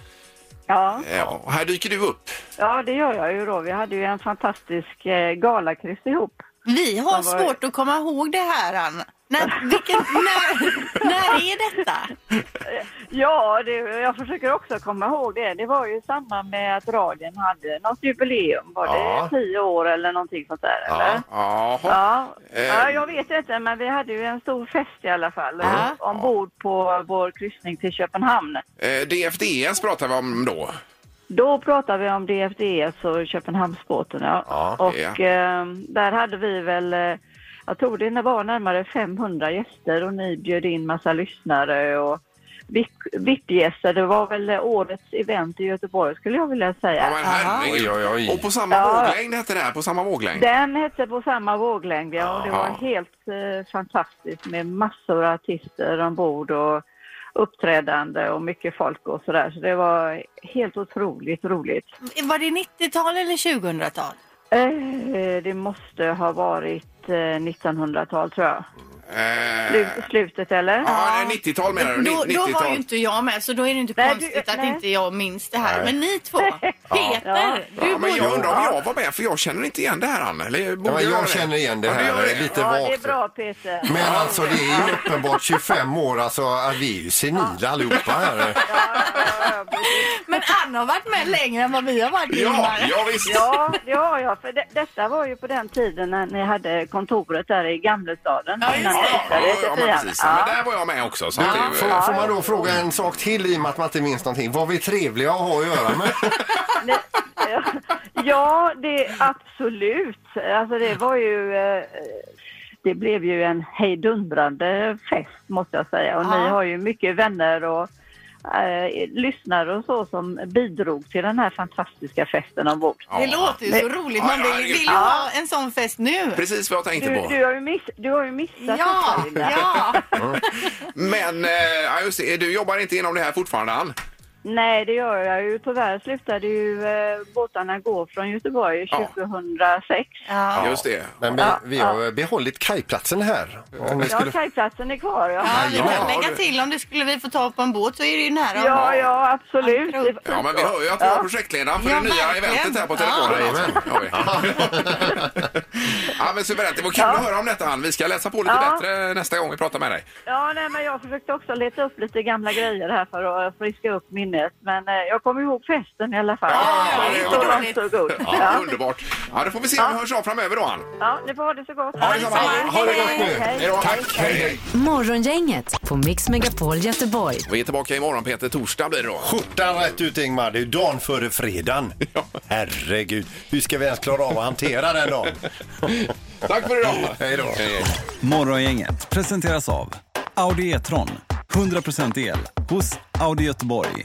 Speaker 12: Ja,
Speaker 2: Eh, och här dyker du upp.
Speaker 12: ja, det gör jag ju då. Vi hade ju en fantastisk eh, galakryss ihop.
Speaker 4: Vi har
Speaker 12: Vad var-
Speaker 4: svårt att komma ihåg det här Ann. När, vilken, när, när är detta?
Speaker 12: Ja, det, jag försöker också komma ihåg det. Det var ju samma med att radion hade något jubileum. Var det
Speaker 3: Ja.
Speaker 12: tio år eller någonting sånt där? Eller?
Speaker 2: Jaha.
Speaker 12: Ja.
Speaker 2: Eh.
Speaker 12: ja, jag vet inte, men vi hade ju en stor fest i alla fall
Speaker 4: Ja.
Speaker 12: ombord på vår kryssning till Köpenhamn.
Speaker 2: Eh, DFDS pratar vi om då.
Speaker 12: Då pratade vi om DFDS och alltså Köpenhamnsbåten. Ja.
Speaker 3: Ja.
Speaker 12: och
Speaker 2: Ja.
Speaker 12: eh, där hade vi väl, eh, jag tror det var närmare 500 gäster och ni bjöd in massa lyssnare och VIP- VIP-gäster. Det var väl eh, årets event i Göteborg skulle jag vilja säga.
Speaker 2: Ja, men herregud.
Speaker 3: Oj, oj, oj.
Speaker 2: Och på samma
Speaker 12: Ja.
Speaker 2: våglängd hette det här, på samma våglängd.
Speaker 12: Den hette På samma våglängd ja, och det var
Speaker 2: Ja.
Speaker 12: helt eh, fantastiskt med massor av artister ombord och uppträdande och mycket folk och sådär. Så det var helt otroligt roligt.
Speaker 4: Var det 90-tal eller 2000-tal?
Speaker 12: Eh, Det måste ha varit eh, 1900-tal tror jag.
Speaker 2: Eh,
Speaker 12: Slu- Slutet eller?
Speaker 2: ja, det är 90-tal menar du?
Speaker 4: Då, då var ju
Speaker 2: 90-tal.
Speaker 4: inte jag med så då är det inte
Speaker 12: Nej, du-
Speaker 4: konstigt att
Speaker 12: nej.
Speaker 4: inte jag minns det här. Men ni två, Peter, du
Speaker 2: Ja, men jag
Speaker 4: borde-
Speaker 2: undrar om jag var med, för jag känner inte igen det här Ann. Eller borde
Speaker 3: Ja, men
Speaker 2: göra
Speaker 3: jag känner igen det
Speaker 2: Ja, du
Speaker 3: här eh,
Speaker 2: gör det.
Speaker 3: lite
Speaker 12: Ja, det är
Speaker 3: vagt.
Speaker 12: bra Peter.
Speaker 3: Men alltså det är ju uppenbart 25 år, alltså att vi är ju senila allihopa här.
Speaker 12: Ja, ja, ja,
Speaker 4: Men Ann har varit med längre än vad vi har varit
Speaker 2: Ja,
Speaker 4: Ingmar.
Speaker 2: ja visst.
Speaker 12: ja, det har jag. För det, detta var ju på den tiden när ni hade kontoret där i Gamlestaden.
Speaker 4: Ja, just
Speaker 12: innan
Speaker 4: det.
Speaker 2: Ja,
Speaker 12: ni
Speaker 2: ja,
Speaker 12: flyttade
Speaker 2: ja,
Speaker 12: till
Speaker 2: ja, men
Speaker 12: Fian.
Speaker 2: precis.
Speaker 12: Ja.
Speaker 2: Men där var jag med också. Så att det, är ju-
Speaker 3: Får, får man då fråga en sak till i och med att man inte minns någonting? Vad vi är trevliga att ha att göra med?
Speaker 12: Nej, ja, ja, det absolut. Alltså det var ju... eh, Det blev ju en hejdundrande fest måste jag säga. Och
Speaker 4: Ja.
Speaker 12: ni har ju mycket vänner och eh, lyssnare och så som bidrog till den här fantastiska festen ombord.
Speaker 2: Ja.
Speaker 4: Det låter ju så roligt. Man
Speaker 2: Ja,
Speaker 4: vill,
Speaker 2: herregud.
Speaker 4: vill ju ha en sån fest nu.
Speaker 2: Precis vad jag tänkte
Speaker 12: Du,
Speaker 2: på.
Speaker 12: du, har, ju miss, du har ju missat
Speaker 4: Ja,
Speaker 12: detta, Linda.
Speaker 4: ja.
Speaker 2: Men eh, ja, just det, du jobbar inte inom det här fortfarande, Ann?
Speaker 12: Nej, det gör jag ju. Tyvärr slutade ju eh, båtarna gå från Göteborg 2006.
Speaker 3: Ja.
Speaker 2: Just det.
Speaker 3: Men vi,
Speaker 12: Ja,
Speaker 3: vi har behållit kajplatsen här. Om vi
Speaker 12: Ja,
Speaker 3: skulle...
Speaker 12: kajplatsen är kvar. Ja,
Speaker 4: Ja, vi kan
Speaker 2: Ja,
Speaker 4: lägga
Speaker 2: du-
Speaker 4: till om det skulle vi få tag på en båt så är det ju nära.
Speaker 12: ja, ja absolut.
Speaker 4: Ja,
Speaker 2: Ja, men vi hör ju att vi har projektledaren för
Speaker 4: Ja,
Speaker 2: det nya
Speaker 4: verkligen.
Speaker 2: eventet här på
Speaker 4: Ja.
Speaker 2: telefonen. Ja,
Speaker 3: Jajamän.
Speaker 2: ja. ja men suveränt. Det var kul att höra om detta Ann. Vi ska läsa på lite
Speaker 12: Ja.
Speaker 2: bättre nästa gång vi pratar med dig.
Speaker 12: Ja, nej, men jag försökte också leta upp lite gamla grejer här för att friska upp minnet. Men eh, jag kommer ihåg festen i alla fall.
Speaker 2: Ja,
Speaker 4: ja,
Speaker 12: det
Speaker 4: ja,
Speaker 12: var
Speaker 4: ja.
Speaker 12: inte så god.
Speaker 2: Ja,
Speaker 12: Ja.
Speaker 2: Underbart. Ja, då får vi se om vi hörs av framöver då Ann.
Speaker 12: ja, ni får ha det så gott.
Speaker 2: Ha det så bra.
Speaker 13: Ha det gott nu.
Speaker 12: Hej.
Speaker 2: Hej då. Tack. Hej, hej.
Speaker 1: Morgongänget på Mix Megapol Göteborg.
Speaker 2: Vi är tillbaka imorgon Peter. Torsdag blir det då.
Speaker 3: Skjortan rätt ut Ingmar, det är ju dagen före fredagen. Herregud, hur ska vi ens klara av att hantera den dagen?
Speaker 2: Tack för idag.
Speaker 3: Hej då.
Speaker 14: Morgongänget presenteras av Audi E-tron. 100% el hos Audi Göteborg.